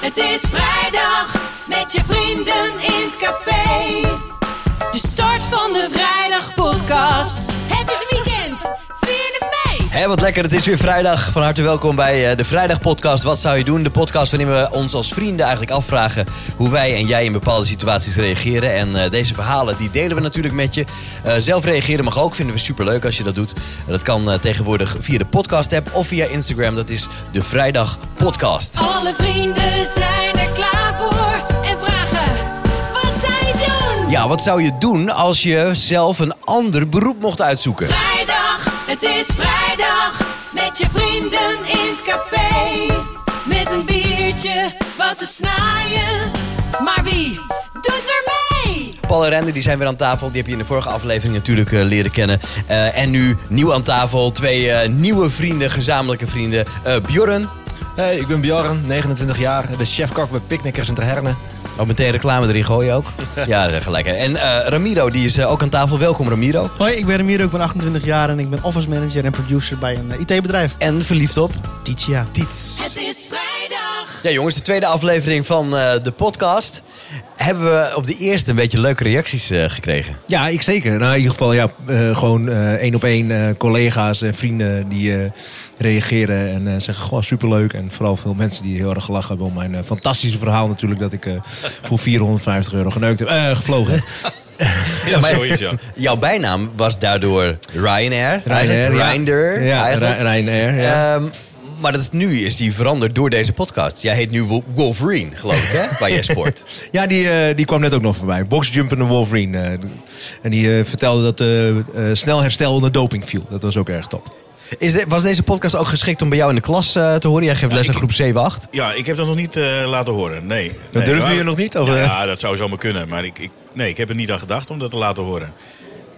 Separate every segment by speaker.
Speaker 1: Het is vrijdag met je vrienden in het café. De start van de vrijdag podcast. Het is weekend. Vierde mei.
Speaker 2: Hé, wat lekker. Het is weer vrijdag. Van harte welkom bij eh, de Vrijdag Podcast. Wat zou je doen? De podcast waarin we ons als vrienden eigenlijk afvragen hoe wij en jij in bepaalde situaties reageren. En eh, deze verhalen die delen we natuurlijk met je. Eh, zelf reageren mag ook. Vinden we superleuk als je dat doet. Eh, dat kan eh, tegenwoordig via de podcast app of via Instagram. Dat is de Vrijdag Podcast.
Speaker 1: Alle vrienden zijn er klaar voor. En vragen, wat zij doen?
Speaker 2: Ja, wat zou je doen als je zelf een ander beroep mocht uitzoeken?
Speaker 1: Vrijdag, het is vrijdag. Met je vrienden in het café. Met een biertje, wat te snaaien. Maar wie doet er mee?
Speaker 2: Paul en Render die zijn weer aan tafel. Die heb je in de vorige aflevering natuurlijk eh, leren kennen. Eh, en nu nieuw aan tafel. Twee eh, nieuwe vrienden, gezamenlijke vrienden. Eh Bjorn.
Speaker 3: Hey, ik ben Bjorn, 29 jaar, de chef-kok bij Picnickers in Terherne.
Speaker 2: Ook meteen reclame erin gooien ook. ja, eh, gelijk. hè. En eh, Ramiro, die is eh, ook aan tafel. Welkom Ramiro.
Speaker 4: Hoi, ik ben Ramiro, ik ben 28 jaar en ik ben office manager en producer bij een eh, IT-bedrijf.
Speaker 2: En verliefd op
Speaker 4: Titia.
Speaker 2: Tiets.
Speaker 1: Het is vrijdag.
Speaker 2: Ja jongens, de tweede aflevering van eh, de podcast. Hebben we op de eerste een beetje leuke reacties eh, gekregen.
Speaker 3: Ja, ik zeker. Nou, in ieder geval ja, eh, gewoon eh, één op één eh, collega's en vrienden die eh, reageren en eh, zeggen gewoon superleuk. En vooral veel mensen die heel erg gelachen hebben om mijn eh, fantastische verhaal natuurlijk dat ik eh, voor 450 euro geneukt heb, eh, gevlogen heb.
Speaker 2: Ja, maar Jouw bijnaam was daardoor Ryanair.
Speaker 3: Ryanair, ja.
Speaker 2: Ryanair.
Speaker 3: Ja,
Speaker 2: eigenlijk.
Speaker 3: Ry- Ryanair, ja.
Speaker 2: Ehm, maar dat is, nu is die veranderd door deze podcast. Jij heet nu Wol- Wolverine, geloof ik, hè? Bij jij sport.
Speaker 3: Ja, die, eh, die kwam net ook nog voorbij. Boxjumper en Wolverine. eh. en die eh, vertelde dat eh, eh, snel herstel onder doping viel. Dat was ook erg top.
Speaker 2: Is de- was deze podcast ook geschikt om bij jou in de klas eh, te horen? Jij geeft les aan groep 7-8.
Speaker 5: Ja, ik heb dat nog niet eh, laten horen. Nee. Dat
Speaker 3: durfde je nog niet, of,
Speaker 5: ja,
Speaker 3: eh?
Speaker 5: ja, dat zou zomaar kunnen. Maar ik, ik, nee, ik heb er niet aan gedacht om dat te laten horen.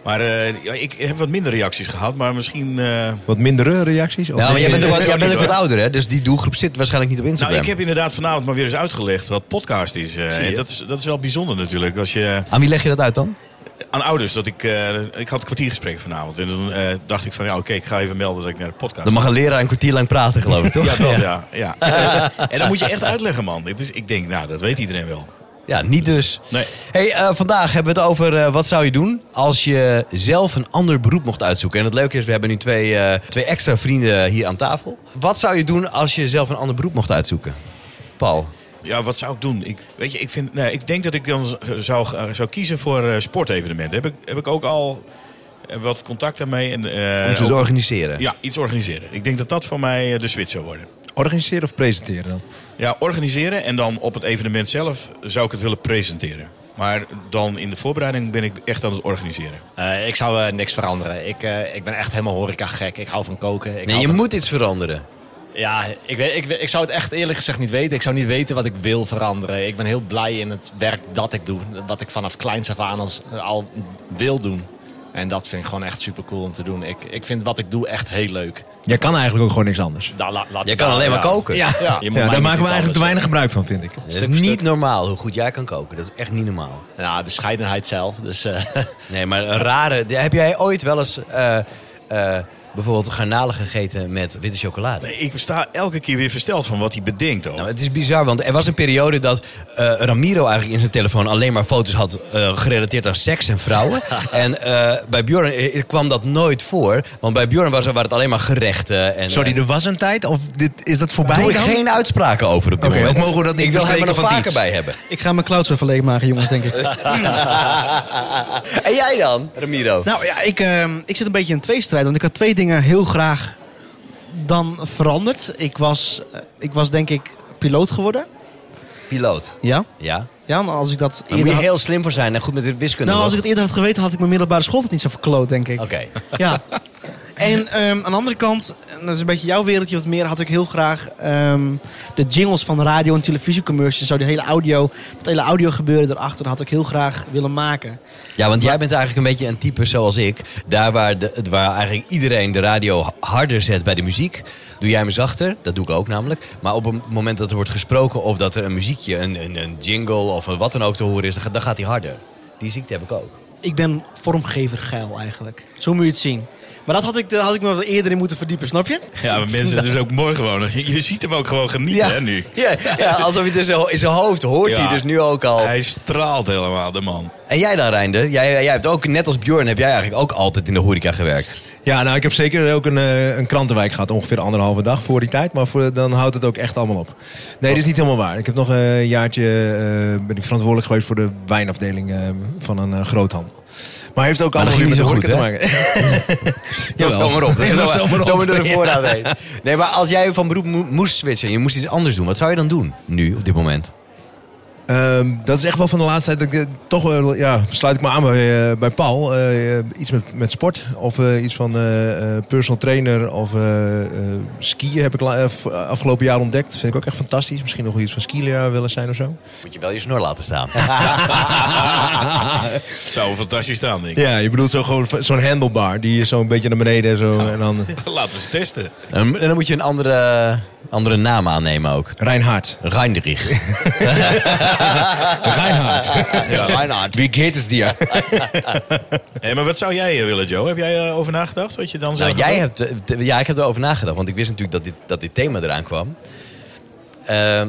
Speaker 5: Maar eh, ja, ik heb wat minder reacties gehad. Maar misschien. eh,
Speaker 3: Wat mindere reacties? Of
Speaker 2: Nou, maar jij bent, ook wat,
Speaker 5: nee,
Speaker 2: jij bent ook
Speaker 5: nee,
Speaker 2: wat ouder, hè? Dus die doelgroep zit waarschijnlijk niet op
Speaker 5: nou,
Speaker 2: Instagram.
Speaker 5: ik heb inderdaad vanavond maar weer eens uitgelegd wat podcast is. eh, en dat is. Dat is wel bijzonder natuurlijk. Als je
Speaker 2: Aan wie leg je dat uit dan?
Speaker 5: aan ouders dat ik. eh, ik had een kwartiergesprek vanavond. En toen eh, dacht ik van ja, oké, ik ga even melden dat ik naar de podcast.
Speaker 2: Dan mag een leraar een kwartier lang praten, geloof ik, toch?
Speaker 5: ja, dat, ja. ja. en dan moet je echt uitleggen, man. Dit is, ik denk, nou, dat weet iedereen wel.
Speaker 2: Ja, niet dus.
Speaker 5: Nee.
Speaker 2: Hey, eh, vandaag hebben we het over eh, wat zou je doen als je zelf een ander beroep mocht uitzoeken. En het leuke is, we hebben nu twee, eh, twee extra vrienden hier aan tafel. Wat zou je doen als je zelf een ander beroep mocht uitzoeken? Paul.
Speaker 5: Ja, wat zou ik doen? Ik, weet je, ik, vind, nee, ik denk dat ik dan z- zou, eh, zou kiezen voor eh, sportevenementen. Heb ik, heb ik ook al eh, wat contact daarmee. En, eh,
Speaker 2: Om ze
Speaker 5: ook-
Speaker 2: te organiseren.
Speaker 5: ja, iets organiseren. Ik denk dat dat voor mij eh, de switch zou worden.
Speaker 3: Organiseren of presenteren dan?
Speaker 5: Ja, organiseren en dan op het evenement zelf zou ik het willen presenteren. Maar dan in de voorbereiding ben ik echt aan het organiseren.
Speaker 6: Eh, ik zou eh, niks veranderen. Ik, eh, ik ben echt helemaal horeca gek. Ik hou van koken. Ik
Speaker 2: Nee,
Speaker 6: hou
Speaker 2: je
Speaker 6: van-
Speaker 2: moet iets veranderen.
Speaker 6: Ja, ik, weet, ik, weet- ik zou het echt eerlijk gezegd niet weten. Ik zou niet weten wat ik wil veranderen. Ik ben heel blij in het werk dat ik doe. Wat ik vanaf kleins af aan als, al wil doen. En dat vind ik gewoon echt super cool om te doen. Ik, ik vind wat ik doe echt heel leuk.
Speaker 3: Jij kan eigenlijk ook gewoon niks anders.
Speaker 6: Daar, la, laat
Speaker 2: Je
Speaker 6: ik
Speaker 2: kan
Speaker 6: daar-
Speaker 2: alleen maar
Speaker 6: ja.
Speaker 2: koken.
Speaker 6: Ja, ja. Je moet
Speaker 3: daar
Speaker 6: mij niet
Speaker 3: maken we
Speaker 6: iets
Speaker 3: eigenlijk te
Speaker 6: anders
Speaker 3: weinig gebruik van, vind ik.
Speaker 2: Het is niet normaal hoe goed jij kan koken. Dat is echt niet normaal.
Speaker 6: zeggen. Ja, bescheidenheid zelf. Dus, eh,
Speaker 2: Nee, maar een rare... Heb jij ooit wel eens eh, eh, bijvoorbeeld garnalen gegeten met witte chocolade?
Speaker 5: Ik sta elke keer weer versteld van wat hij bedenkt. Ook.
Speaker 2: Nou, het is bizar, want er was een periode dat eh, Ramiro eigenlijk in zijn telefoon alleen maar foto's had eh, gerelateerd aan seks en vrouwen. en eh, bij Bjorn eh, kwam dat nooit voor, want bij Bjorn was, er- waren het alleen maar gerechten. En,
Speaker 3: Sorry,
Speaker 2: eh,
Speaker 3: er was een tijd, of dit, is dat voorbij
Speaker 2: daar doe ik
Speaker 3: dan?
Speaker 2: geen uitspraken over op dit
Speaker 3: Oké,
Speaker 2: moment.
Speaker 3: ook mogen we dat niet
Speaker 2: ik wil hem er
Speaker 3: bespreken
Speaker 2: nog
Speaker 3: van
Speaker 2: vaker
Speaker 3: Tiets.
Speaker 2: bij hebben.
Speaker 4: Ik ga mijn cloudsurf leeg maken, jongens, denk ik.
Speaker 2: en jij dan, Ramiro?
Speaker 4: nou ja, ik, ehm, ik zit een beetje in een tweestrijd, want ik had twee dingen heel graag dan veranderd. Ik was, eh, ik was denk ik piloot geworden.
Speaker 2: Piloot.
Speaker 4: Ja?
Speaker 2: Ja. Nou,
Speaker 4: Ja, maar als ik dat
Speaker 2: Daar moet
Speaker 4: eerder
Speaker 2: je
Speaker 4: had-
Speaker 2: heel slim voor zijn en goed met de wiskunde.
Speaker 4: Nou, als ik
Speaker 2: toch?
Speaker 4: het eerder had geweten, had ik mijn middelbare school het niet zo verkloot, denk ik.
Speaker 2: Oké.
Speaker 4: Ja. En ehm, aan de andere kant, en dat is een beetje jouw wereldje wat meer, had ik heel graag ehm, de jingles van radio en televisiecommercials, zo die hele audio, dat hele audio gebeuren erachter, had ik heel graag willen maken.
Speaker 2: Ja, want jij bent eigenlijk een beetje een type zoals ik. Daar waar, de, waar eigenlijk iedereen de radio harder zet bij de muziek, doe jij me zachter. Dat doe ik ook namelijk. Maar op het moment dat er wordt gesproken of dat er een muziekje, een, een, een jingle of een wat dan ook te horen is, dan gaat, dan gaat die harder. Die ziekte heb ik ook.
Speaker 4: Ik ben vormgever geil eigenlijk. Zo moet je het zien. Maar dat had ik, daar had ik me wat eerder in moeten verdiepen, snap je?
Speaker 5: Ja, maar mensen dus ook mooi gewoon. Je je ziet hem ook gewoon genieten hè, nu.
Speaker 2: Ja, ja, alsof je het in zijn- in zijn hoofd hoort
Speaker 5: Ja.
Speaker 2: hij dus nu ook al.
Speaker 5: Hij straalt helemaal, de man.
Speaker 2: En jij dan, Reinder? Jij, jij hebt ook, net als Bjorn, heb jij eigenlijk ook altijd in de horeca gewerkt.
Speaker 3: Ja, nou, ik heb zeker ook een, eh, een krantenwijk gehad. Ongeveer anderhalve dag voor die tijd. Maar voor, dan houdt het ook echt allemaal op. Nee, dat is niet helemaal waar. Ik heb nog eh, een jaartje eh, ben ik verantwoordelijk geweest voor de wijnafdeling eh, van een eh, groothandel. Maar heeft ook
Speaker 2: Maar dat
Speaker 3: allemaal weer
Speaker 2: ging
Speaker 3: met de
Speaker 2: niet zo
Speaker 3: horeca te
Speaker 2: goed,
Speaker 3: maken.
Speaker 2: Dat is
Speaker 3: Jawel.
Speaker 2: zomaar op. Dat is
Speaker 3: Ja, dat is
Speaker 2: zomaar-
Speaker 3: zomaar op.
Speaker 2: zomaar door de voorraad heen. Nee, maar als jij van beroep mo- moest switchen en je moest iets anders doen, wat zou je dan doen? Nu, op dit moment.
Speaker 3: Ehm, dat is echt wel van de laatste tijd. Dat ik, eh, toch wel, ja, sluit ik me aan bij, eh, bij Paul. Eh, eh, iets met, met sport. Of eh, iets van eh, eh, personal trainer. Of eh, eh, skiën heb ik la- eh, v- afgelopen jaar ontdekt. Vind ik ook echt fantastisch. Misschien nog wel iets van skileraar willen zijn of zo.
Speaker 2: Moet je wel je snor laten staan.
Speaker 5: Het zou fantastisch staan, denk ik.
Speaker 3: Ja, je bedoelt zo gewoon v- zo'n handlebar. Die is zo'n beetje naar beneden. en Zo, En dan
Speaker 5: Laten we eens testen.
Speaker 2: En dan moet je een andere, andere naam aannemen ook.
Speaker 3: Reinhard.
Speaker 2: Reinderich.
Speaker 3: Reinhard.
Speaker 2: Ja, Reinhard.
Speaker 3: Wie gaat het dir?
Speaker 5: Hé, maar wat zou jij eh, willen, Joe? Heb jij eh, over nagedacht wat je dan zou
Speaker 2: Nou,
Speaker 5: gaan
Speaker 2: jij
Speaker 5: doen?
Speaker 2: hebt, eh, t- ja, ik heb erover nagedacht, want ik wist natuurlijk dat dit, dat dit thema eraan kwam. Ehm,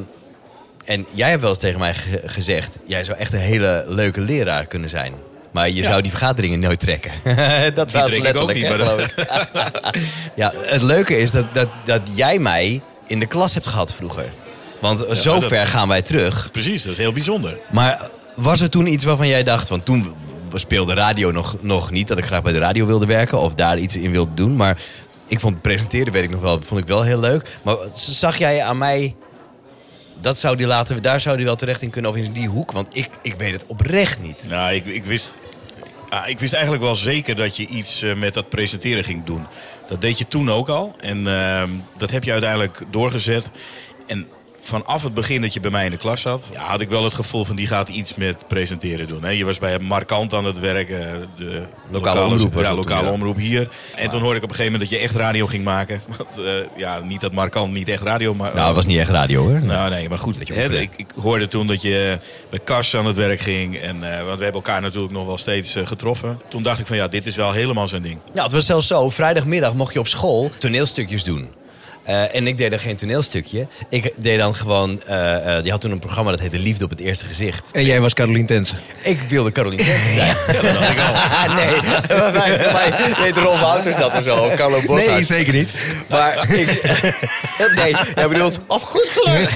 Speaker 2: en jij hebt wel eens tegen mij ge- gezegd, jij zou echt een hele leuke leraar kunnen zijn. Maar je zou die vergaderingen nooit trekken. dat was
Speaker 5: drink ik
Speaker 2: letterlijk,
Speaker 5: ook niet,
Speaker 2: hè,
Speaker 5: maar dat-
Speaker 2: geloof ik. ja, het leuke is dat, dat, dat jij mij in de klas hebt gehad vroeger. Want eh, zo
Speaker 5: dat-
Speaker 2: ver gaan wij terug.
Speaker 5: Precies, dat is heel bijzonder.
Speaker 2: Maar was er toen iets waarvan jij dacht, want toen w- speelde radio nog, nog niet, dat ik graag bij de radio wilde werken of daar iets in wilde doen. Maar ik vond presenteren, weet ik nog wel, vond ik wel heel leuk. Maar z- zag jij aan mij, dat zou die laten, daar zou die wel terecht in kunnen of in die hoek? Want ik, ik weet het oprecht niet.
Speaker 5: Nou, ik, ik wist... ah, ik wist eigenlijk wel zeker dat je iets eh, met dat presenteren ging doen. Dat deed je toen ook al. En ehm, dat heb je uiteindelijk doorgezet. En vanaf het begin dat je bij mij in de klas zat... ja, had ik wel het gevoel van die gaat iets met presenteren doen. Hè. Je was bij Markant aan het werk. eh, de
Speaker 2: omroep was
Speaker 5: Ja,
Speaker 2: dat
Speaker 5: lokale
Speaker 2: toen, ja. Ah.
Speaker 5: omroep hier. En toen hoorde ik op een gegeven moment dat je echt radio ging maken. Want eh, ja, niet dat Markant niet echt radio... Maar,
Speaker 2: Nou, het was niet echt radio hoor.
Speaker 5: Nou nee, maar goed.
Speaker 2: Dat je
Speaker 5: hè,
Speaker 2: oefende.
Speaker 5: ik, ik hoorde toen dat je bij Kars aan het werk ging. En, eh, want we hebben elkaar natuurlijk nog wel steeds eh, getroffen. Toen dacht ik van ja, dit is wel helemaal zijn ding.
Speaker 2: Ja, Nou, het was zelfs zo. Vrijdagmiddag mocht je op school toneelstukjes doen. Eh, en ik deed er geen toneelstukje. Ik deed dan gewoon... eh, eh, je had toen een programma dat heette Liefde op het Eerste Gezicht.
Speaker 3: En jij was Caroline Tensen.
Speaker 2: Ik wilde Caroline Jensen zijn. Ja, dat dacht ik al. nee, bij mij, bij mij deed Rolf Wouters dat of zo. of Carlo Boshart.
Speaker 3: Nee, zeker niet.
Speaker 2: maar ik... nee, hij bedoelt... Op goed geluk.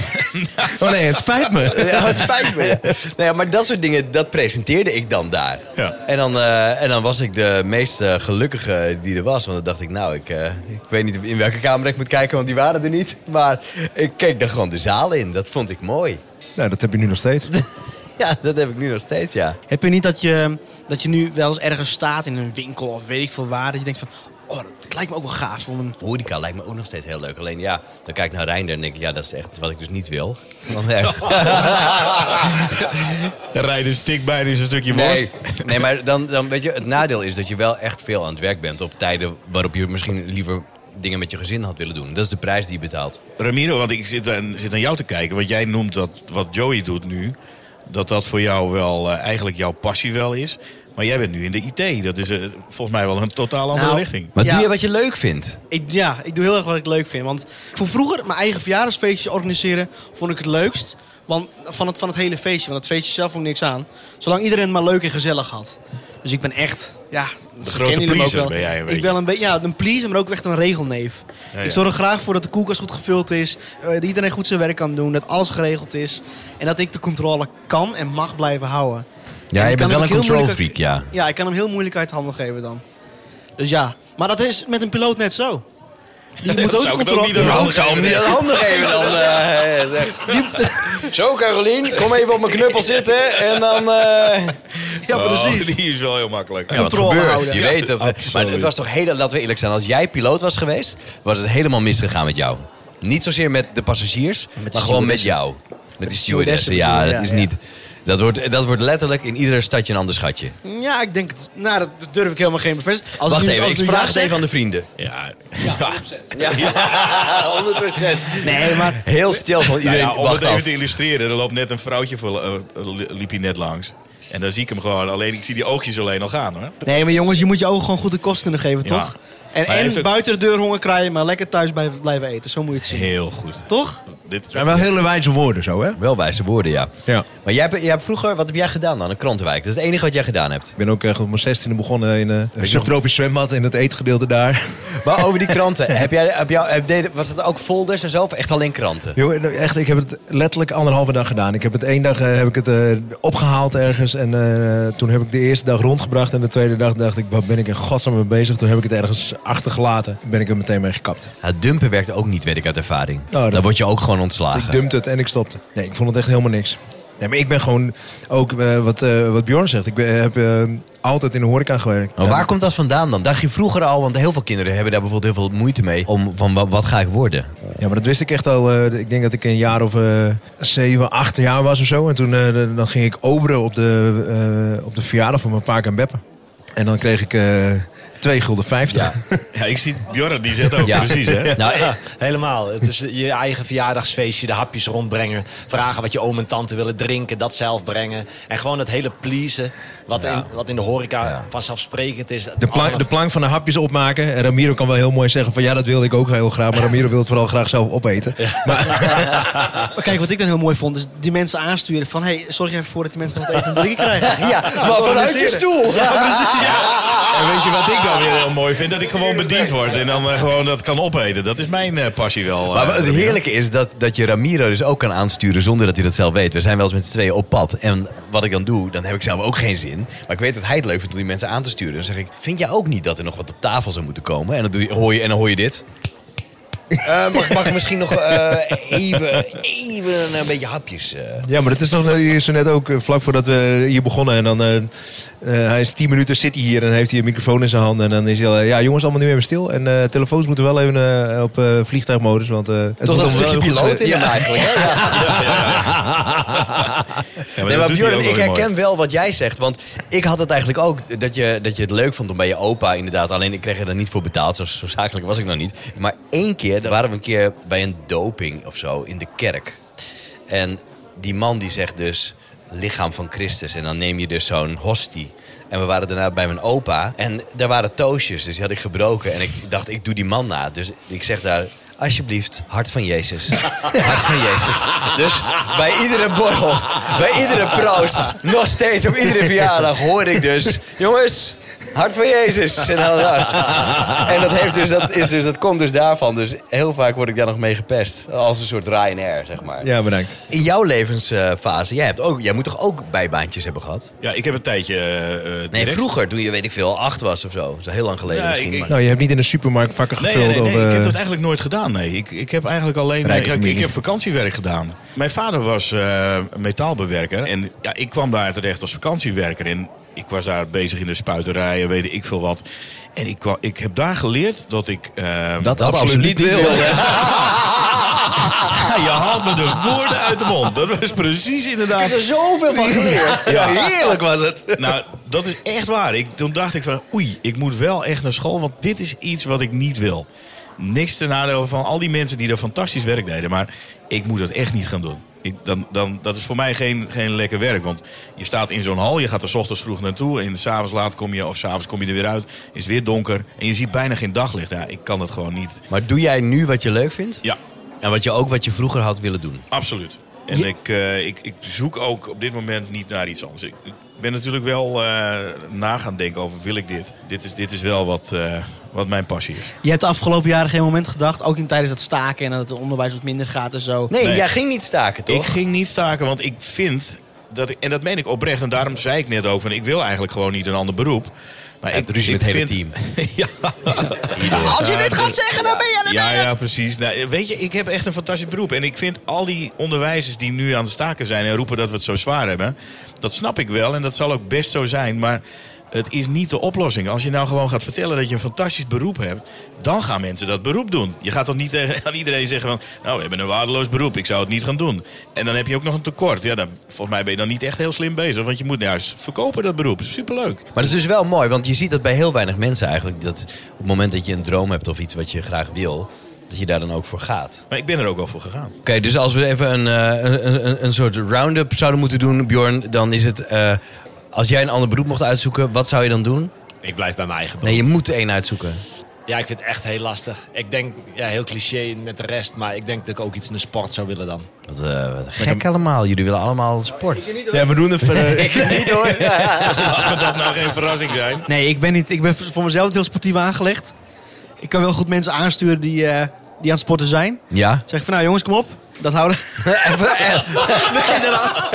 Speaker 3: Oh nee, het spijt me.
Speaker 2: Ja, het spijt me. Nou ja, maar dat soort dingen, dat presenteerde ik dan daar.
Speaker 5: Ja.
Speaker 2: En, dan, eh, en dan was ik de meest eh, gelukkige die er was. Want dan dacht ik, nou, ik, eh, ik weet niet in welke kamer ik moet kijken, want die waren er niet. Maar ik keek dan gewoon de zaal in. Dat vond ik mooi.
Speaker 3: Nou, dat heb je nu nog steeds.
Speaker 2: Ja, dat heb ik nu nog steeds, ja.
Speaker 4: Heb je niet dat je, dat je nu wel eens ergens staat in een winkel of weet ik veel waar... dat je denkt van, oh, dat lijkt me ook wel gaaf om een...
Speaker 2: Horeca lijkt me ook nog steeds heel leuk. Alleen ja, dan kijk ik naar Reinder en denk ik, ja, dat is echt wat ik dus niet wil. Want, eh,
Speaker 5: Rijden stik bijna is een stukje
Speaker 2: nee,
Speaker 5: worst.
Speaker 2: nee, maar dan, dan weet je, het nadeel is dat je wel echt veel aan het werk bent op tijden waarop je misschien liever dingen met je gezin had willen doen. Dat is de prijs die je betaalt.
Speaker 5: Ramiro, want ik zit, aan- zit naar jou te kijken. Want jij noemt dat wat Joey doet nu. Dat dat voor jou wel eh, eigenlijk jouw passie wel is. Maar jij bent nu in de IT. Dat is eh, volgens mij wel een totaal andere
Speaker 4: Nou,
Speaker 5: richting.
Speaker 2: Maar
Speaker 4: Ja.
Speaker 2: doe je wat je leuk vindt.
Speaker 4: Ik, ja, ik doe heel erg wat ik leuk vind. Want ik vond vroeger mijn eigen verjaardagsfeestje organiseren vond ik het leukst. Want, van, het, van het hele feestje, want het feestje zelf vond ik niks aan. Zolang iedereen het maar leuk en gezellig had. Dus ik ben echt, ja... De
Speaker 5: grote pleaser ben jij een
Speaker 4: Ik
Speaker 5: beetje.
Speaker 4: ben een beetje, ja, een pleaser, maar ook echt een regelneef.
Speaker 5: Ja, ja.
Speaker 4: Ik zorg er graag voor dat de koelkast goed gevuld is. eh, Dat iedereen goed zijn werk kan doen, dat alles geregeld is. En dat ik de controle kan en mag blijven houden.
Speaker 2: Ja,
Speaker 4: En
Speaker 2: je
Speaker 4: ik kan
Speaker 2: bent
Speaker 4: hem
Speaker 2: wel een
Speaker 4: ook heel
Speaker 2: control
Speaker 4: moeilijk-
Speaker 2: freak, ja.
Speaker 4: Ja, ik kan hem heel moeilijk uit handen geven dan. Dus ja, maar dat is met een piloot net zo. Die moet ook
Speaker 5: zou ik ook
Speaker 4: controle
Speaker 5: niet aan handen geven.
Speaker 2: niet aan handen geven dan. eh, Zo, Carolien, kom even op mijn knuppel zitten en dan... eh,
Speaker 4: Ja, precies.
Speaker 5: Oh, die is wel heel makkelijk.
Speaker 2: Ja, wat
Speaker 4: controle
Speaker 2: gebeurt.
Speaker 4: houden.
Speaker 2: Je
Speaker 4: Ja,
Speaker 2: weet dat. Maar het was toch heel, laten we eerlijk zijn, als jij piloot was geweest, was het helemaal misgegaan met jou. Niet zozeer met de passagiers, maar gewoon met jou. Met die stewardessen.
Speaker 4: bedoel
Speaker 2: Ja,
Speaker 4: je,
Speaker 2: dat
Speaker 4: ja,
Speaker 2: is
Speaker 4: ja.
Speaker 2: niet. Dat wordt, dat wordt letterlijk in iedere stadje een ander schatje.
Speaker 4: Ja, ik denk het. Nou, dat durf ik helemaal geen bevestigen. Als
Speaker 2: Wacht
Speaker 4: nu-
Speaker 2: even,
Speaker 4: als
Speaker 2: ik
Speaker 4: nu ja
Speaker 2: vraag het
Speaker 4: zeg-
Speaker 2: even aan de vrienden.
Speaker 5: Ja,
Speaker 2: Ja, 100%. Nee, maar. Heel stil van
Speaker 5: Nou
Speaker 2: iedereen.
Speaker 5: ja, om
Speaker 2: wacht
Speaker 5: het even
Speaker 2: af.
Speaker 5: te illustreren, er loopt net een vrouwtje voor, eh, li- liep hier net langs. En dan zie ik hem gewoon, alleen ik zie die oogjes alleen al gaan hoor.
Speaker 4: Nee, maar jongens, je moet je ogen gewoon goed de kost kunnen geven,
Speaker 5: Ja.
Speaker 4: toch? En,
Speaker 5: hij heeft
Speaker 4: en
Speaker 5: ook-
Speaker 4: buiten de deur honger krijgen, maar lekker thuis bij- blijven eten. Zo moet je het zien.
Speaker 5: Heel goed.
Speaker 4: Toch?
Speaker 5: Dit is
Speaker 3: zijn wel hele wijze woorden zo, hè?
Speaker 2: Wel wijze woorden, ja.
Speaker 3: Ja.
Speaker 2: Maar jij hebt, jij hebt vroeger, wat heb jij gedaan dan? Een krantenwijk. Dat is het enige wat jij gedaan hebt.
Speaker 3: Ik ben ook echt op mijn 16e begonnen in eh, een subtropisch zwembad in het eetgedeelte daar.
Speaker 2: Maar over die kranten. heb jij, heb jou, heb, deed- was dat ook folders en zo? Of echt alleen kranten?
Speaker 3: Jongen, nou, echt, ik heb het letterlijk anderhalve dag gedaan. Ik heb het één dag eh, heb ik het, eh, opgehaald ergens. En eh, toen heb ik de eerste dag rondgebracht. En de tweede dag dacht ik, wat ben ik in godsnaam mee bezig? Toen heb ik het ergens achtergelaten. Ben ik er meteen mee gekapt.
Speaker 2: Ja, Nou, dumpen werkt ook niet, weet ik uit ervaring.
Speaker 3: dat-
Speaker 2: Dan word je ook gewoon
Speaker 3: Dus ik
Speaker 2: ontslagen.
Speaker 3: dumpte het en ik stopte. Nee, ik vond het echt helemaal niks. Nee, maar ik ben gewoon ook eh, wat, eh, wat Bjorn zegt. Ik ben- heb eh, altijd in de horeca gewerkt.
Speaker 2: Maar waar komt dat vandaan dan? Dacht je vroeger al, want heel veel kinderen hebben daar bijvoorbeeld heel veel moeite mee. Om van wa- wat ga ik worden?
Speaker 3: Ja, maar dat wist ik echt al. eh, ik denk dat ik een jaar of eh, zeven, acht jaar was of zo. En toen eh, dan ging ik oberen op de, eh, op de verjaardag van mijn paak en beppen. En dan kreeg ik eh 2 gulden 50.
Speaker 5: Ja, ik zie Bjorn, die zegt ook
Speaker 2: Ja.
Speaker 5: precies, hè?
Speaker 2: Nou,
Speaker 6: Ja, helemaal. Het is je eigen verjaardagsfeestje, de hapjes rondbrengen. Vragen wat je oom en tante willen drinken, dat zelf brengen. En gewoon dat hele pleasen, wat, in, wat in de horeca vanzelfsprekend is.
Speaker 3: De, plank, de plank van de hapjes opmaken. En Ramiro kan wel heel mooi zeggen van ja, dat wilde ik ook heel graag. Maar Ramiro wil het vooral graag zelf opeten.
Speaker 4: Maar kijk, wat ik dan heel mooi vond, is die mensen aansturen van... hey, zorg even voor dat die mensen nog wat eten en drinken krijgen.
Speaker 2: ja, maar vanuit je stoel.
Speaker 5: En weet je wat ik dan weer heel mooi vind? Dat ik gewoon bediend word en dan eh, gewoon dat kan opeten. Dat is mijn eh, passie wel. eh,
Speaker 2: Maar wat het
Speaker 5: Ramiro.
Speaker 2: heerlijke is dat, dat je Ramiro dus ook kan aansturen zonder dat hij dat zelf weet. We zijn wel eens met z'n tweeën op pad. En wat ik dan doe, dan heb ik zelf ook geen zin. Maar ik weet dat hij het leuk vindt om die mensen aan te sturen. Dan zeg ik, vind jij ook niet dat er nog wat op tafel zou moeten komen? En dan, doe je, hoor, je, en dan hoor je dit. Eh, mag, mag ik misschien nog eh, even, even een beetje hapjes? eh?
Speaker 3: Ja, maar dat is nog hier zo net ook eh, vlak voordat we hier begonnen. En dan eh, eh, hij is 10 minuten zit hij hier en heeft hij een microfoon in zijn handen. En dan is hij al, eh, ja jongens, allemaal nu even stil. En eh, telefoons moeten wel even eh, op eh, vliegtuigmodus. Want, eh, het
Speaker 2: Toch
Speaker 3: moet
Speaker 2: dat
Speaker 3: allemaal wel
Speaker 2: stukje
Speaker 3: heel goed,
Speaker 2: piloot
Speaker 3: eh,
Speaker 2: in hem eigenlijk. hè? Ja.
Speaker 5: Ja,
Speaker 2: Nee,
Speaker 5: dat
Speaker 2: maar
Speaker 5: doet hij ook
Speaker 2: Björn, ik
Speaker 5: wel mooi.
Speaker 2: herken wel wat jij zegt. Want ik had het eigenlijk ook dat je, dat je het leuk vond om bij je opa inderdaad. Alleen ik kreeg er dan niet voor betaald. Zo, zo zakelijk was ik nog niet. Maar één keer, daar waren we een keer bij een doping of zo in de kerk. En die man die zegt dus lichaam van Christus. En dan neem je dus zo'n hostie. En we waren daarna bij mijn opa. En daar waren toosjes, dus die had ik gebroken. En ik dacht, ik doe die man na. Dus ik zeg daar, alsjeblieft, hart van Jezus. Hart van Jezus. Dus bij iedere borrel, bij iedere proost, nog steeds op iedere verjaardag hoor ik dus... Jongens, hart van Jezus. En, dan, en dat, heeft dus, dat, is dus, dat komt dus daarvan. Dus heel vaak word ik daar nog mee gepest. Als een soort Ryanair, zeg maar.
Speaker 3: Ja, bedankt.
Speaker 2: In jouw levensfase, jij, hebt ook, jij moet toch ook bijbaantjes hebben gehad?
Speaker 5: Ja, ik heb een tijdje... eh, eh,
Speaker 2: Nee,
Speaker 5: direct-
Speaker 2: vroeger, toen je, weet ik veel, acht was of zo. Zo heel lang geleden
Speaker 5: Ja,
Speaker 2: misschien.
Speaker 5: ik- ik-
Speaker 2: maar-
Speaker 3: Nou, je hebt niet in de supermarkt vakken
Speaker 5: Nee,
Speaker 3: gevuld.
Speaker 5: nee, nee, nee,
Speaker 3: of,
Speaker 5: ik heb
Speaker 3: eh,
Speaker 5: dat eigenlijk nooit gedaan. Nee. Ik, ik heb eigenlijk alleen
Speaker 3: Rijke
Speaker 5: eh, ik,
Speaker 3: familie.
Speaker 5: ik heb vakantiewerk gedaan. Mijn vader was eh, metaalbewerker. En ja, ik kwam daar terecht als vakantiewerker. En ik was daar bezig in de spuiterijen, weet ik veel wat. En ik, kwam, ik heb daar geleerd dat ik... eh,
Speaker 3: dat absoluut niet wil.
Speaker 5: Ja, Ah, je haalt me de woorden uit de mond. Dat was precies inderdaad...
Speaker 2: er zoveel van geleerd. Heerlijk was het.
Speaker 5: Nou, dat is echt waar. Ik, toen dacht ik van, oei, ik moet wel echt naar school, want dit is iets wat ik niet wil. Niks ten nadeel van al die mensen die daar fantastisch werk deden, maar ik moet dat echt niet gaan doen. Ik, dan, dan, dat is voor mij geen, geen lekker werk, want je staat in zo'n hal, je gaat er 's ochtends vroeg naartoe en s'avonds laat kom je, of s'avonds kom je er weer uit, is het weer donker en je ziet bijna geen daglicht. Ja, ik kan dat gewoon niet.
Speaker 2: Maar doe jij nu wat je leuk vindt?
Speaker 5: Ja,
Speaker 2: En wat je ook wat je vroeger had willen doen?
Speaker 5: Absoluut. En ik, eh, ik, ik zoek ook op dit moment niet naar iets anders. Ik, ik ben natuurlijk wel eh, na gaan denken over wil ik dit. Dit is, dit is wel wat, eh, wat mijn passie is.
Speaker 4: Je hebt de afgelopen jaren geen moment gedacht, ook in tijdens dat staken en dat het onderwijs wat minder gaat en zo.
Speaker 2: Nee,
Speaker 5: Nee.
Speaker 2: jij ging niet staken, toch?
Speaker 5: Ik ging niet staken, want ik vind, dat ik- en dat meen ik oprecht, en daarom zei ik net ook, van, ik wil eigenlijk gewoon niet een ander beroep. Maar
Speaker 2: Je hebt ruzie met het hele team.
Speaker 5: ja,
Speaker 1: Als je dit gaat zeggen, dan ben je een
Speaker 5: ja, ja, precies. Nou, weet je, ik heb echt een fantastisch beroep. En ik vind al die onderwijzers die nu aan het staken zijn en roepen dat we het zo zwaar hebben, dat snap ik wel en dat zal ook best zo zijn. Maar het is niet de oplossing. Als je nou gewoon gaat vertellen dat je een fantastisch beroep hebt, dan gaan mensen dat beroep doen. Je gaat toch niet tegen- aan iedereen zeggen van, nou, we hebben een waardeloos beroep, ik zou het niet gaan doen. En dan heb je ook nog een tekort. Ja, dan, volgens mij ben je dan niet echt heel slim bezig, want je moet nou juist verkopen dat beroep. Superleuk.
Speaker 2: Maar dat is dus wel mooi, want je ziet dat bij heel weinig mensen eigenlijk. Dat op het moment dat je een droom hebt of iets wat je graag wil, dat je daar dan ook voor gaat.
Speaker 5: Maar ik ben er ook wel voor gegaan.
Speaker 2: Oké, dus als we even een, eh, een, een, een soort round-up zouden moeten doen, Bjorn, dan is het. eh, als jij een ander beroep mocht uitzoeken, wat zou je dan doen?
Speaker 6: Ik blijf bij mijn eigen
Speaker 2: Nee,
Speaker 6: beroep.
Speaker 2: je moet er één uitzoeken.
Speaker 6: Ja, ik vind het echt heel lastig. Ik denk, ja, heel cliché met de rest, maar ik denk dat ik ook iets in de sport zou willen dan.
Speaker 2: Wat, eh, wat gek allemaal. Jullie willen allemaal sport.
Speaker 3: Ja, we doen even... eh,
Speaker 2: Niet hoor.
Speaker 5: Laat dat nou geen verrassing zijn.
Speaker 4: Nee, ik ben, niet, ik ben voor mezelf heel sportief aangelegd. Ik kan wel goed mensen aansturen die, eh, die aan het sporten zijn.
Speaker 2: Ja.
Speaker 4: Zeg van, nou jongens, kom op. Dat houden.
Speaker 2: Even, eh,
Speaker 4: Nee, daarna-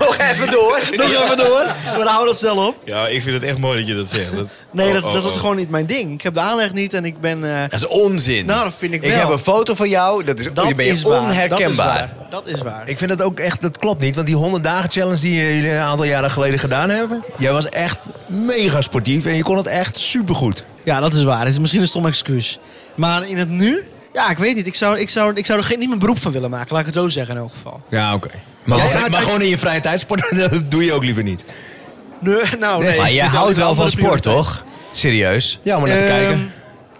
Speaker 2: nog even door.
Speaker 4: Nog even door. Maar dan houden we dat snel op.
Speaker 5: Ja, ik vind het echt mooi dat je dat zegt. Dat-
Speaker 4: Nee,
Speaker 5: Oh,
Speaker 4: dat,
Speaker 5: oh,
Speaker 4: dat was
Speaker 5: oh.
Speaker 4: gewoon niet mijn ding. Ik heb de aanleg niet en ik ben... eh,
Speaker 2: Dat is onzin.
Speaker 4: nou, dat vind ik
Speaker 2: ik
Speaker 4: wel.
Speaker 2: heb een foto van jou. Dat is,
Speaker 4: dat
Speaker 2: je ben je
Speaker 4: is waar.
Speaker 2: onherkenbaar.
Speaker 4: Dat is waar. Dat is waar.
Speaker 3: Ik vind dat ook echt, dat klopt niet. Want die 100 dagen challenge die eh, jullie een aantal jaren geleden gedaan hebben. Jij was echt mega sportief en je kon het echt supergoed.
Speaker 4: Ja, dat is waar. Het is misschien een stom excuus. Maar in het nu? Ja, ik weet niet. Ik zou, ik zou, ik zou er geen, niet mijn beroep van willen maken. Laat ik het zo zeggen in elk geval.
Speaker 3: Ja, oké. Maar,
Speaker 4: Ja,
Speaker 3: was-
Speaker 4: ja,
Speaker 3: maar
Speaker 4: kijk-
Speaker 3: gewoon in je vrije tijd sporten, dat doe je ook liever niet.
Speaker 4: Nee, nou, nee.
Speaker 2: Maar jij
Speaker 4: Dus dat
Speaker 2: houdt
Speaker 4: is
Speaker 2: wel
Speaker 4: een
Speaker 2: van
Speaker 4: andere
Speaker 2: sport,
Speaker 4: prioriteit.
Speaker 2: toch? Serieus?
Speaker 3: Ja, maar even
Speaker 4: Ehm,
Speaker 3: kijken.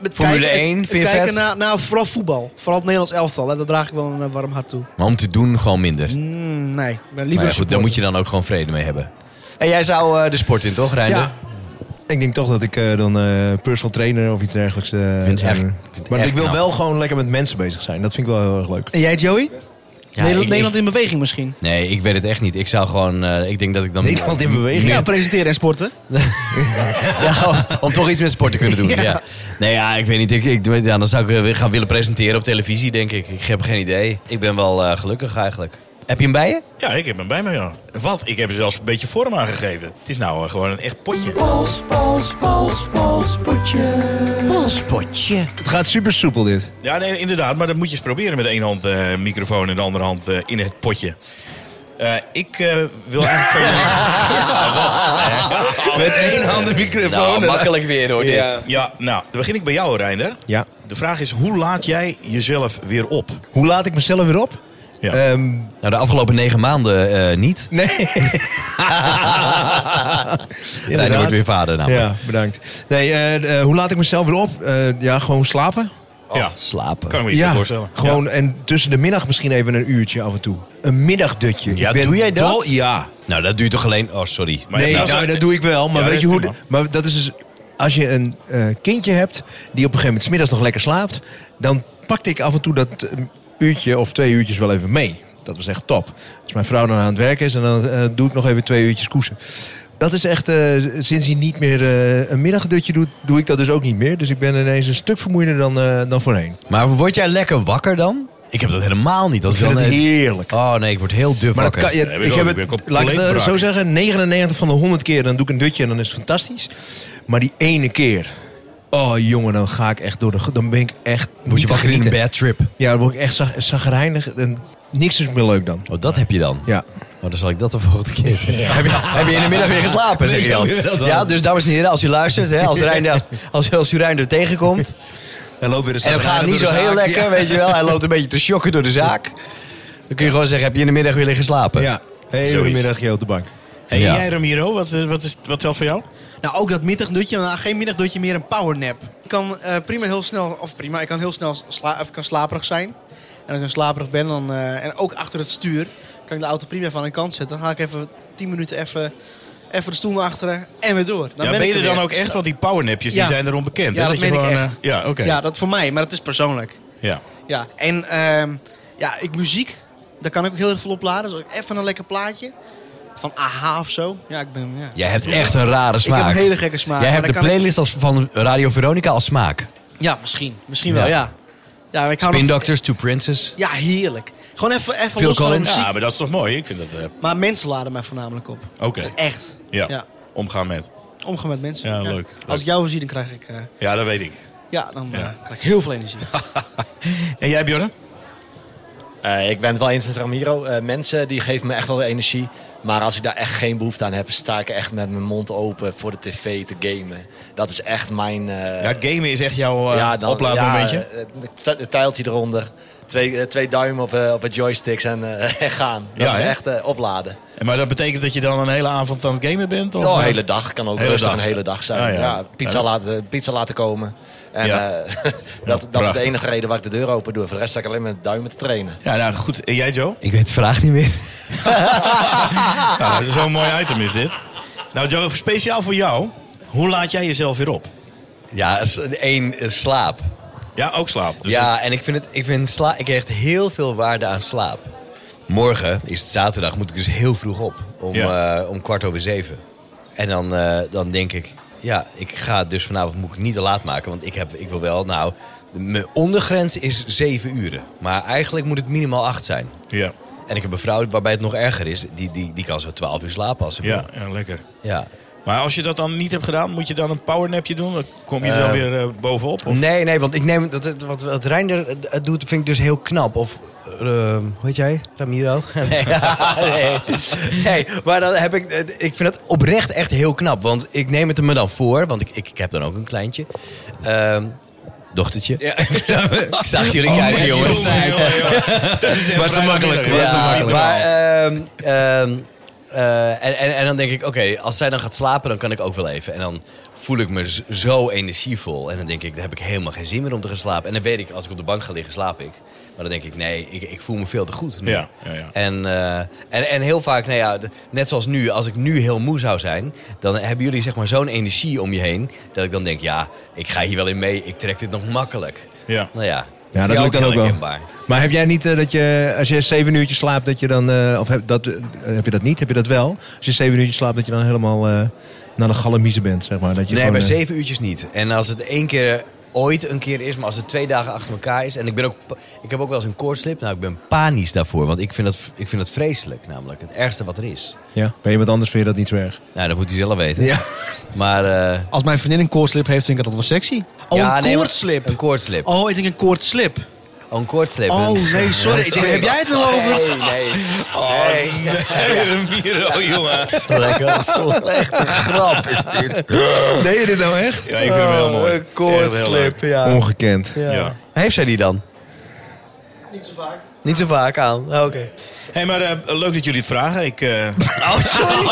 Speaker 4: het
Speaker 2: Formule
Speaker 4: kijken-
Speaker 2: 1,
Speaker 4: het
Speaker 2: vind je
Speaker 4: kijken
Speaker 2: vet?
Speaker 4: naar- nou, vooral voetbal. Vooral het Nederlands elftal. Hè. Daar draag ik wel een eh, warm hart toe.
Speaker 2: Maar om te doen gewoon minder. Maar
Speaker 4: Mm, nee, ik ben
Speaker 2: ja,
Speaker 4: liever
Speaker 2: goed, daar moet je dan ook gewoon vrede mee hebben. En jij zou eh, de sport in, toch, Reinder?
Speaker 3: Ja. Ik denk toch dat ik eh, dan eh, personal trainer of iets dergelijks. eh,
Speaker 2: het
Speaker 3: zou
Speaker 2: echt-
Speaker 3: doen.
Speaker 2: vind het
Speaker 3: maar
Speaker 2: echt
Speaker 3: ik wil
Speaker 2: knap.
Speaker 3: wel gewoon lekker met mensen bezig zijn. Dat vind ik wel heel erg leuk.
Speaker 4: En jij, Joey? Nederland,
Speaker 2: ik-
Speaker 4: Nederland in beweging misschien.
Speaker 2: Nee, ik weet het echt niet. Ik zou gewoon... eh, ik denk dat ik dan...
Speaker 3: Nederland in beweging.
Speaker 4: Ja, presenteren en sporten.
Speaker 2: Ja, om- om toch iets met sport te kunnen doen. Ja. Nee, ja, ik weet niet. Ik, ik, ja, dan zou ik eh, weer gaan willen presenteren op televisie, denk ik. Ik heb geen idee. Ik ben wel eh, gelukkig eigenlijk. Heb je hem bij je?
Speaker 5: Ja, ik heb hem bij me, ja. Wat? Ik heb er zelfs een beetje vorm aan gegeven. Het is nou eh, gewoon een echt potje.
Speaker 3: Het gaat super soepel dit.
Speaker 5: Ja, nee, inderdaad. Maar dat moet je eens proberen met één hand eh, microfoon en de andere hand eh, in het potje. Eh, ik eh, wil eigenlijk van jullie... Met één hand de microfoon.
Speaker 2: Oh, Nou, makkelijk weer hoor, dit.
Speaker 5: Ja, nou, dan begin ik bij jou, Reinder.
Speaker 3: Ja.
Speaker 5: De vraag is, hoe laat jij jezelf weer op? Eh,
Speaker 3: Hoe laat ik mezelf weer op?
Speaker 5: Ja.
Speaker 3: Ehm,
Speaker 2: Nou, de afgelopen negen maanden eh, niet.
Speaker 3: nee.
Speaker 2: Reinder wordt weer vader namelijk.
Speaker 3: Ja, bedankt. Nee, eh, eh, hoe laat ik mezelf weer op? Eh, ja, gewoon slapen.
Speaker 4: Oh,
Speaker 5: ja,
Speaker 2: Oh, Slapen.
Speaker 5: kan ik me iets
Speaker 3: ja,
Speaker 5: bij voorstellen.
Speaker 3: gewoon en tussen de middag misschien even een uurtje af en toe. Een middagdutje.
Speaker 2: Ja,
Speaker 3: Ik ben
Speaker 2: doe jij dat?
Speaker 3: dol- ja.
Speaker 2: Nou, dat duurt toch alleen... Oh, sorry.
Speaker 5: Maar-
Speaker 3: nee,
Speaker 5: ja, nou,
Speaker 3: nou,
Speaker 5: zo-
Speaker 3: dat doe ik wel. Maar
Speaker 5: Ja,
Speaker 3: weet
Speaker 5: dat
Speaker 3: je
Speaker 5: is
Speaker 3: hoe...
Speaker 5: prima.
Speaker 3: de- maar dat is dus... Als je een eh, kindje hebt die op een gegeven moment 's middags nog lekker slaapt... dan pakte ik af en toe dat eh, uurtje of twee uurtjes wel even mee. Dat was echt top. Als mijn vrouw dan aan het werk is, en dan eh, doe ik nog even twee uurtjes koesen. Dat is echt, eh, sinds hij niet meer eh, een middagdutje doet, doe ik dat dus ook niet meer. Dus ik ben ineens een stuk vermoeider dan, eh, dan voorheen.
Speaker 2: Maar word jij lekker wakker dan? Ik heb dat helemaal niet. Als
Speaker 3: Ik vind
Speaker 2: dan,
Speaker 3: het
Speaker 2: eh,
Speaker 3: heerlijk.
Speaker 2: Oh nee, ik word heel duf
Speaker 3: Maar dat
Speaker 2: wakker.
Speaker 3: kan, ja,
Speaker 5: Nee, weet je
Speaker 3: ik
Speaker 5: wel,
Speaker 3: heb
Speaker 5: ik ben
Speaker 3: het,
Speaker 5: compleet
Speaker 3: laat ik het eh,
Speaker 5: brak.
Speaker 3: zo zeggen, 99 van de 100 keer dan doe ik een dutje en dan is het fantastisch. Maar die ene keer, oh jongen, dan ga ik echt door de... gro- Dan ben ik echt
Speaker 2: Word je wakker in een
Speaker 3: bed?
Speaker 2: bad trip.
Speaker 3: Ja, dan word ik echt zag- zagrijnig en niks is meer leuk dan.
Speaker 2: Oh, dat heb je dan.
Speaker 3: Ja.
Speaker 2: Maar Oh, dan zal ik dat de volgende keer doen. Heb, je, heb je in de middag weer geslapen, zeg je dan? Ja, dus dames en heren, als u luistert, hè, als, Reinder, als, als u Reinder tegenkomt...
Speaker 3: En loopt weer
Speaker 2: en het gaat niet zo heel lekker, weet je wel. Hij loopt een beetje te shocken door de zaak. Dan kun je gewoon zeggen, heb je in de middag weer liggen slapen?
Speaker 3: Ja, hele
Speaker 5: Zoiets.
Speaker 3: middag je op de bank.
Speaker 5: Hey,
Speaker 2: Ja.
Speaker 5: En jij, Ramiro, wat, eh, wat, is, wat telt voor jou?
Speaker 4: Nou, ook dat middagdutje. maar geen middagdutje, meer een powernap. Ik kan eh, prima heel snel, of prima, ik kan heel snel sla of ik kan slaperig zijn. En als ik dan slaperig ben, dan, eh, en ook achter het stuur, kan ik de auto prima van een kant zetten. Dan ga ik even 10 minuten even, even de stoel naar achteren en weer door. Dan
Speaker 5: ja, ben je er dan
Speaker 4: weer.
Speaker 5: ook echt? Want die powernapjes die
Speaker 4: Ja.
Speaker 5: zijn erom bekend.
Speaker 4: Ja,
Speaker 5: hè?
Speaker 4: dat
Speaker 5: je
Speaker 4: meen ik
Speaker 5: gewoon,
Speaker 4: echt.
Speaker 5: eh, Ja, oké.
Speaker 4: Ja, dat voor mij, maar dat is persoonlijk.
Speaker 5: Ja.
Speaker 4: Ja, en ehm, ja, ik muziek, daar kan ik ook heel erg veel opladen. Dus ook even een lekker plaatje van AHA of zo. Ja, ik ben, ja.
Speaker 2: Jij hebt echt een rare
Speaker 4: Ik
Speaker 2: smaak.
Speaker 4: heb een hele gekke smaak.
Speaker 2: Jij
Speaker 4: maar
Speaker 2: hebt de
Speaker 4: daar kan ik-
Speaker 2: playlist als, van Radio Veronica als smaak.
Speaker 4: Ja, misschien. Misschien
Speaker 2: Ja.
Speaker 4: wel, ja. Ja, maar ik hou
Speaker 2: Spin
Speaker 4: nog-
Speaker 2: Doctors, Two Princes.
Speaker 4: Ja, heerlijk. Gewoon even, even
Speaker 2: Phil
Speaker 4: los van de
Speaker 2: Collins.
Speaker 4: muziek.
Speaker 5: ja, maar dat is toch mooi? Ik vind dat... eh,
Speaker 4: Maar mensen laden mij voornamelijk op.
Speaker 5: oké.
Speaker 4: Echt.
Speaker 5: Ja.
Speaker 4: Ja.
Speaker 5: omgaan met.
Speaker 4: Omgaan met mensen.
Speaker 5: Ja, leuk, leuk.
Speaker 4: Als ik jou zie, dan krijg ik, eh,
Speaker 5: Ja, dat weet ik.
Speaker 4: ja, dan, eh,
Speaker 5: Ja.
Speaker 4: krijg ik heel veel energie.
Speaker 5: En jij, Bjorn?
Speaker 6: Eh, ik ben het wel eens met Ramiro. Eh, mensen die geven me echt wel weer energie. Maar als ik daar echt geen behoefte aan heb, sta ik echt met mijn mond open voor de tv te gamen. Dat is echt mijn. eh,
Speaker 5: ja, gamen is echt jouw eh
Speaker 6: ja, dan-
Speaker 5: oplaadmomentje.
Speaker 6: ja, eh, het- Het tijltje eronder. Twee, eh, twee duim op, eh, op het joysticks en eh, en gaan. Dat
Speaker 5: Ja,
Speaker 6: is
Speaker 5: hè?
Speaker 6: echt eh, opladen.
Speaker 5: En Maar dat betekent dat je dan een hele avond aan het gamen bent? Of eh,
Speaker 6: Oh, een hele dag kan ook
Speaker 5: Hele
Speaker 6: rustig
Speaker 5: dag.
Speaker 6: een hele dag zijn.
Speaker 5: Ah, ja.
Speaker 6: ja. pizza,
Speaker 5: Ja.
Speaker 6: Laten, pizza laten komen. En
Speaker 5: Ja.
Speaker 6: eh, dat, dat is
Speaker 5: prachtig.
Speaker 6: de enige reden waar ik de deur open doe. Voor de rest sta ik alleen met duimen te trainen.
Speaker 5: Ja, nou goed. En jij, Joe?
Speaker 2: Ik weet de vraag niet meer.
Speaker 5: Ja, dat is Nou, Zo'n mooi item is dit. Nou, Joe, speciaal voor jou. Hoe laat jij jezelf weer op?
Speaker 2: Ja, s- één eh, slaap.
Speaker 5: Ja, ook slaap. Dus
Speaker 2: ja, en ik vind het, ik vind sla, ik hecht heel veel waarde aan slaap. Morgen is het zaterdag, moet ik dus heel vroeg op. Om,
Speaker 5: Ja.
Speaker 2: eh, om kwart over zeven. En dan, eh, dan denk ik, ja, ik ga dus vanavond moet ik niet te laat maken. Want ik, heb, ik wil wel, nou, de- mijn ondergrens is zeven uren. Maar eigenlijk moet het minimaal acht zijn.
Speaker 5: Ja,
Speaker 2: En ik heb een vrouw waarbij het nog erger is. Die, die, die kan zo twaalf uur slapen als ze
Speaker 5: ja,
Speaker 2: wil.
Speaker 5: ja, lekker.
Speaker 2: Ja.
Speaker 5: Maar als je dat dan niet hebt gedaan, moet je dan een powernapje doen? Dan kom je er dan
Speaker 2: Eh,
Speaker 5: weer eh, bovenop? Of?
Speaker 2: Nee, nee, want ik neem dat, dat- wat, wat Reinder eh, d- doet, vind ik dus heel knap. Of, eh, hoe heet jij? Ramiro? Nee, nee. nee maar dan heb ik, eh, ik vind het oprecht echt heel knap. Want ik neem het er me dan voor, want ik, ik, ik heb dan ook een kleintje. Ehm, dochtertje. ik zag jullie kijken, jongens.
Speaker 5: Jongen, jongen, jongen. Dat is echt
Speaker 3: Was te
Speaker 5: vrijdag
Speaker 3: makkelijk,
Speaker 5: middag.
Speaker 3: was te
Speaker 5: Ja,
Speaker 3: makkelijk.
Speaker 5: maar-
Speaker 2: Maar, ehm, ehm, eh, en, en, en dan denk ik, oké, als zij dan gaat slapen, dan kan ik ook wel even. En dan voel ik me z- zo energievol. En dan denk ik, dan heb ik helemaal geen zin meer om te gaan slapen. En dan weet ik, als ik op de bank ga liggen, slaap ik. Maar dan denk ik, nee, ik, ik voel me veel te goed nu.
Speaker 5: Ja, ja, ja.
Speaker 2: En, eh, en, en heel vaak, nou ja, d- net zoals nu, als ik nu heel moe zou zijn... dan hebben jullie zeg maar zo'n energie om je heen... dat ik dan denk, ja, ik ga hier wel in mee. Ik trek dit nog makkelijk.
Speaker 5: Ja.
Speaker 2: Nou ja,
Speaker 3: Ja,
Speaker 2: voor
Speaker 3: dat
Speaker 2: jou
Speaker 3: lukt dan
Speaker 2: heel
Speaker 3: ook wel.
Speaker 2: herkenbaar.
Speaker 3: Maar heb jij niet eh, dat je, als je zeven uurtjes slaapt, dat je dan, eh, of heb, dat, eh, heb je dat niet, heb je dat wel? Als je zeven uurtjes slaapt, dat je dan helemaal eh, naar de galamiezen bent, zeg maar. Dat je
Speaker 2: Nee,
Speaker 3: gewoon,
Speaker 2: bij
Speaker 3: eh,
Speaker 2: zeven uurtjes niet. En als het één keer ooit een keer is, maar als het twee dagen achter elkaar is. En ik, ben ook, pa- ik heb ook wel eens een koortslip. Nou, ik ben panisch daarvoor. Want ik vind dat, ik vind dat vreselijk, namelijk. Het ergste wat er is.
Speaker 3: Ja, bij iemand anders vind je dat niet zo erg.
Speaker 2: Nou, dat moet hij zelf weten. Maar. eh,
Speaker 4: Als mijn vriendin een koortslip heeft, vind ik dat dat wel sexy. Oh,
Speaker 2: ja,
Speaker 4: een
Speaker 2: nee, maar-
Speaker 4: koortslip.
Speaker 2: Een koortslip.
Speaker 4: Oh, ik denk een koortslip.
Speaker 2: Oh, een koortslip.
Speaker 4: Oh,
Speaker 2: Een-
Speaker 4: nee, sorry. Ik denk, heb jij het nou over?
Speaker 2: Nee, nee. Oh, nee.
Speaker 5: Hey, Ramiro, jongen.
Speaker 2: Lekker slechte grap is dit.
Speaker 3: Deed je dit nou echt?
Speaker 5: Ja, ik vind hem
Speaker 4: Oh,
Speaker 5: heel mooi.
Speaker 2: Een koortslip,
Speaker 3: Ah.
Speaker 2: ja.
Speaker 3: Ongekend.
Speaker 2: ja.
Speaker 5: Ja.
Speaker 2: Heeft zij die dan?
Speaker 4: Niet zo vaak.
Speaker 2: Niet zo vaak aan. Ah, Oké.
Speaker 5: hey, maar eh, leuk dat jullie het vragen. Ik, eh,
Speaker 2: Oh, sorry.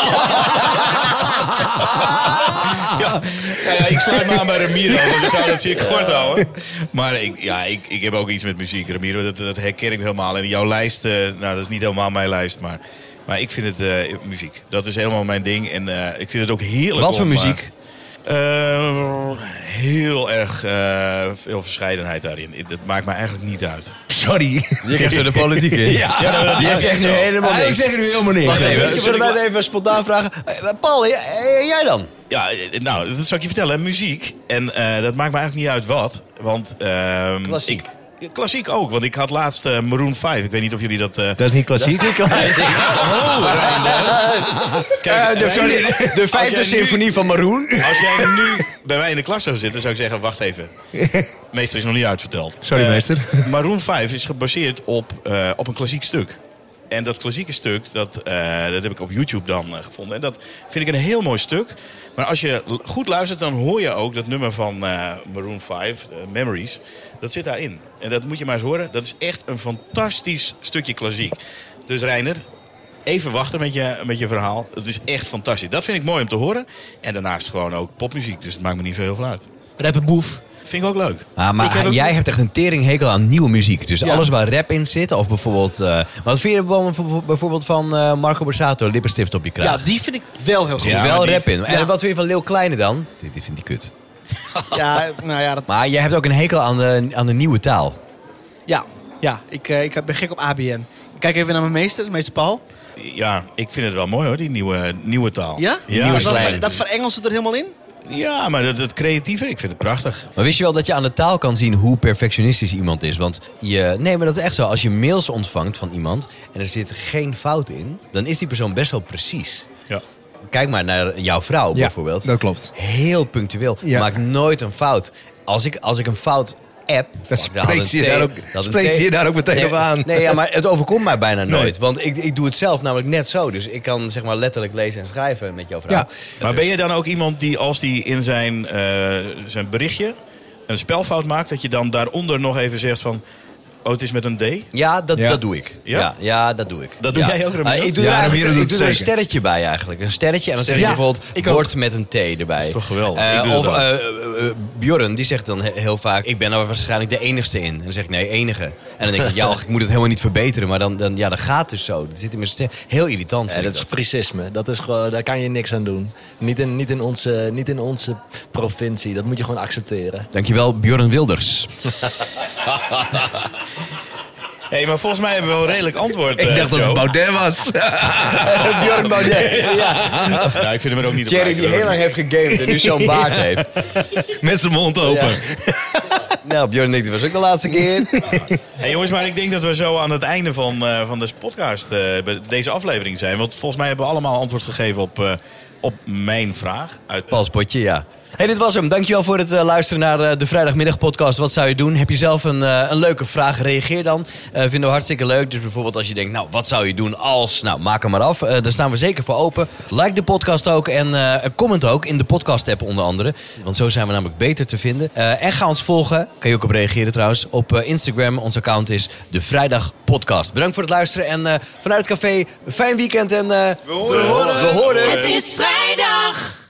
Speaker 5: ja, ja, ja, ik sluit me aan bij Ramiro, want we zouden het zeer kort houden. Maar ik, ja, ik, ik heb ook iets met muziek, Ramiro. Dat, dat herken ik helemaal. En jouw lijst, eh, nou, dat is niet helemaal mijn lijst, maar... Maar ik vind het eh, muziek. Dat is helemaal mijn ding. En eh, ik vind het ook heerlijk.
Speaker 2: Wat voor
Speaker 5: om, eh,
Speaker 2: muziek?
Speaker 5: Eh, heel erg eh, veel verscheidenheid daarin. Ik- Dat maakt me eigenlijk niet uit.
Speaker 3: Sorry.
Speaker 2: Je krijgt zo de politiek in. Ja, die is echt nu helemaal
Speaker 3: Ik
Speaker 2: niks.
Speaker 3: zeg nu helemaal niks.
Speaker 2: Wacht
Speaker 5: Weet je
Speaker 2: even,
Speaker 5: wat
Speaker 2: zullen
Speaker 5: ik
Speaker 2: wij
Speaker 5: wa-
Speaker 2: het even spontaan vragen? Eh, Paul, jij- eh, jij dan?
Speaker 5: Ja, eh, nou, dat zal ik je vertellen. Muziek. En eh, dat maakt me eigenlijk niet uit wat. Want, ehm,
Speaker 2: Klassiek.
Speaker 5: ik- klassiek ook, want ik had laatst eh, Maroon 5. Ik weet niet of jullie dat... eh,
Speaker 3: Dat is niet klassiek.
Speaker 5: kijk,
Speaker 2: de,
Speaker 5: eh, sorry.
Speaker 2: vier- de
Speaker 5: Als jij
Speaker 2: vijfde
Speaker 5: nu-
Speaker 2: symfonie van Maroon.
Speaker 5: Als jij nu bij mij in de klas zou zitten, zou ik zeggen, wacht even. Meester is nog niet uitverteld.
Speaker 3: Sorry,
Speaker 5: Eh,
Speaker 3: meester.
Speaker 5: Maroon 5 is gebaseerd op, eh, op een klassiek stuk. En dat klassieke stuk, dat, eh, dat heb ik op YouTube dan eh, gevonden. En dat vind ik een heel mooi stuk. Maar als je l- goed luistert, dan hoor je ook dat nummer van eh, Maroon 5, eh, Memories. Dat zit daarin. En dat moet je maar eens horen. Dat is echt een fantastisch stukje klassiek. Dus Reiner, even wachten met je, met je verhaal. Het is echt fantastisch. Dat vind ik mooi om te horen. En daarnaast gewoon ook popmuziek. Dus het maakt me niet zo heel veel uit.
Speaker 4: Rapper Boef.
Speaker 5: Vind ik ook leuk.
Speaker 2: Ah, maar jij hebt echt een teringhekel aan nieuwe muziek. Dus alles waar rap in zit. Of bijvoorbeeld... eh, wat vind je bijvoorbeeld van eh, Marco Borsato? Lippenstift op je
Speaker 4: Ja,
Speaker 2: kraag.
Speaker 4: die vind ik wel heel goed.
Speaker 2: Er
Speaker 5: Ja,
Speaker 2: zit
Speaker 5: maar
Speaker 2: wel
Speaker 5: die-
Speaker 2: rap in. En
Speaker 4: ja.
Speaker 2: wat vind je van Leeuw Kleine dan? Dit, dit vindt hij kut.
Speaker 4: Ja, nou ja, dat,
Speaker 2: Maar jij hebt ook een hekel aan de, aan de nieuwe taal.
Speaker 4: ja, ja ik, eh, ik ben gek op ABN. Ik Kijk even naar mijn meester, meester Paul.
Speaker 5: Ja, ik vind het wel mooi hoor, die nieuwe, nieuwe taal.
Speaker 4: Ja?
Speaker 5: ja
Speaker 2: nieuwe
Speaker 4: dat,
Speaker 2: slang.
Speaker 4: ver- dat verengelt ze er helemaal in?
Speaker 5: Ja, maar dat, dat creatieve, ik vind het prachtig.
Speaker 2: Maar wist je wel dat je aan de taal kan zien hoe perfectionistisch iemand is? Want je, nee, maar dat is echt zo. Als je mails ontvangt van iemand en er zit geen fout in, dan is die persoon best wel precies.
Speaker 5: Ja.
Speaker 2: Kijk maar naar jouw vrouw bijvoorbeeld.
Speaker 3: dat klopt.
Speaker 2: Heel punctueel.
Speaker 3: Ja.
Speaker 2: Maakt nooit een fout. Als ik, als ik een fout app.
Speaker 3: Dan spreekt ze je daar ook- spreekt ze je daar ook meteen
Speaker 2: nee,
Speaker 3: op aan.
Speaker 2: Nee, ja, maar het overkomt mij bijna
Speaker 3: Nee.
Speaker 2: nooit. Want ik, ik doe het zelf namelijk net zo. Dus ik kan zeg maar letterlijk lezen en schrijven met jouw vrouw.
Speaker 3: Ja.
Speaker 5: Maar ben je dan ook iemand die als die in zijn, eh, zijn berichtje een spelfout maakt, dat je dan daaronder nog even zegt van... Oh, het is met een D?
Speaker 2: Ja, dat,
Speaker 3: Ja.
Speaker 2: dat doe ik.
Speaker 5: Ja?
Speaker 2: Ja, ja, dat doe ik.
Speaker 5: Dat doe
Speaker 2: Ja.
Speaker 5: jij ook, Ramiro?
Speaker 2: Ah, ik doe
Speaker 3: Ja,
Speaker 2: er, eigenlijk,
Speaker 3: Ramiro
Speaker 2: ik
Speaker 3: doet
Speaker 2: doe er
Speaker 3: het
Speaker 2: een
Speaker 3: zeker.
Speaker 2: sterretje bij eigenlijk. Een sterretje en dan zeg je
Speaker 4: Ja,
Speaker 2: bijvoorbeeld
Speaker 4: ik ook.
Speaker 2: bord met een T erbij. Dat
Speaker 5: is toch geweldig? Ik doe
Speaker 2: of
Speaker 5: dat ook.
Speaker 2: eh, eh, eh, Bjorn, die zegt dan he- heel vaak, ik ben er waarschijnlijk de enigste in. En dan zeg ik, nee, enige. En dan denk ik, ja, och, ik moet het helemaal niet verbeteren. Maar dan, dan ja, dat gaat dus zo. Dat zit in mijn ster- Heel irritant.
Speaker 6: Ja,
Speaker 2: vind
Speaker 6: dat
Speaker 2: ik
Speaker 6: is
Speaker 2: dat.
Speaker 6: frisisme. Dat is gewoon, daar kan je niks aan doen. Niet in, niet, in onze, niet in onze provincie. Dat moet je gewoon accepteren.
Speaker 2: Dankjewel, Bjorn Wilders.
Speaker 5: Hé, maar volgens mij hebben we wel redelijk antwoord,
Speaker 3: Ik
Speaker 5: eh,
Speaker 3: dacht dat
Speaker 5: Joe.
Speaker 3: het Baudet was.
Speaker 2: Bjorn Baudet.
Speaker 5: Nou, ik vind hem er ook niet
Speaker 2: Thierry
Speaker 5: op
Speaker 2: die heel lang heeft gegamed en nu zo'n baard heeft.
Speaker 3: Met zijn mond open.
Speaker 2: Nou, Bjorn en ik, dit was ook de laatste keer.
Speaker 5: Hey, jongens, maar ik denk dat we zo aan het einde van, eh, van deze podcast, eh, bij deze aflevering zijn. Want volgens mij hebben we allemaal antwoord gegeven op, eh, op mijn vraag. Uit
Speaker 2: Paspotje, ja. Hey, dit was hem. Dankjewel voor het eh, luisteren naar eh, de vrijdagmiddagpodcast. Wat zou je doen? Heb je zelf een, eh, een leuke vraag? Reageer dan. Eh, vinden we hartstikke leuk. Dus bijvoorbeeld als je denkt, nou, wat zou je doen als? Nou, maak hem maar af. Eh, daar staan we zeker voor open. Like de podcast ook en eh, comment ook in de podcast-app onder andere. Want zo zijn we namelijk beter te vinden. Eh, en ga ons volgen. Kan je ook op reageren trouwens. Op eh, Instagram. Ons account is de Vrijdag Podcast. Bedankt voor het luisteren. En eh, vanuit het café, fijn weekend. En eh, we horen. We horen.
Speaker 1: Het is vrijdag.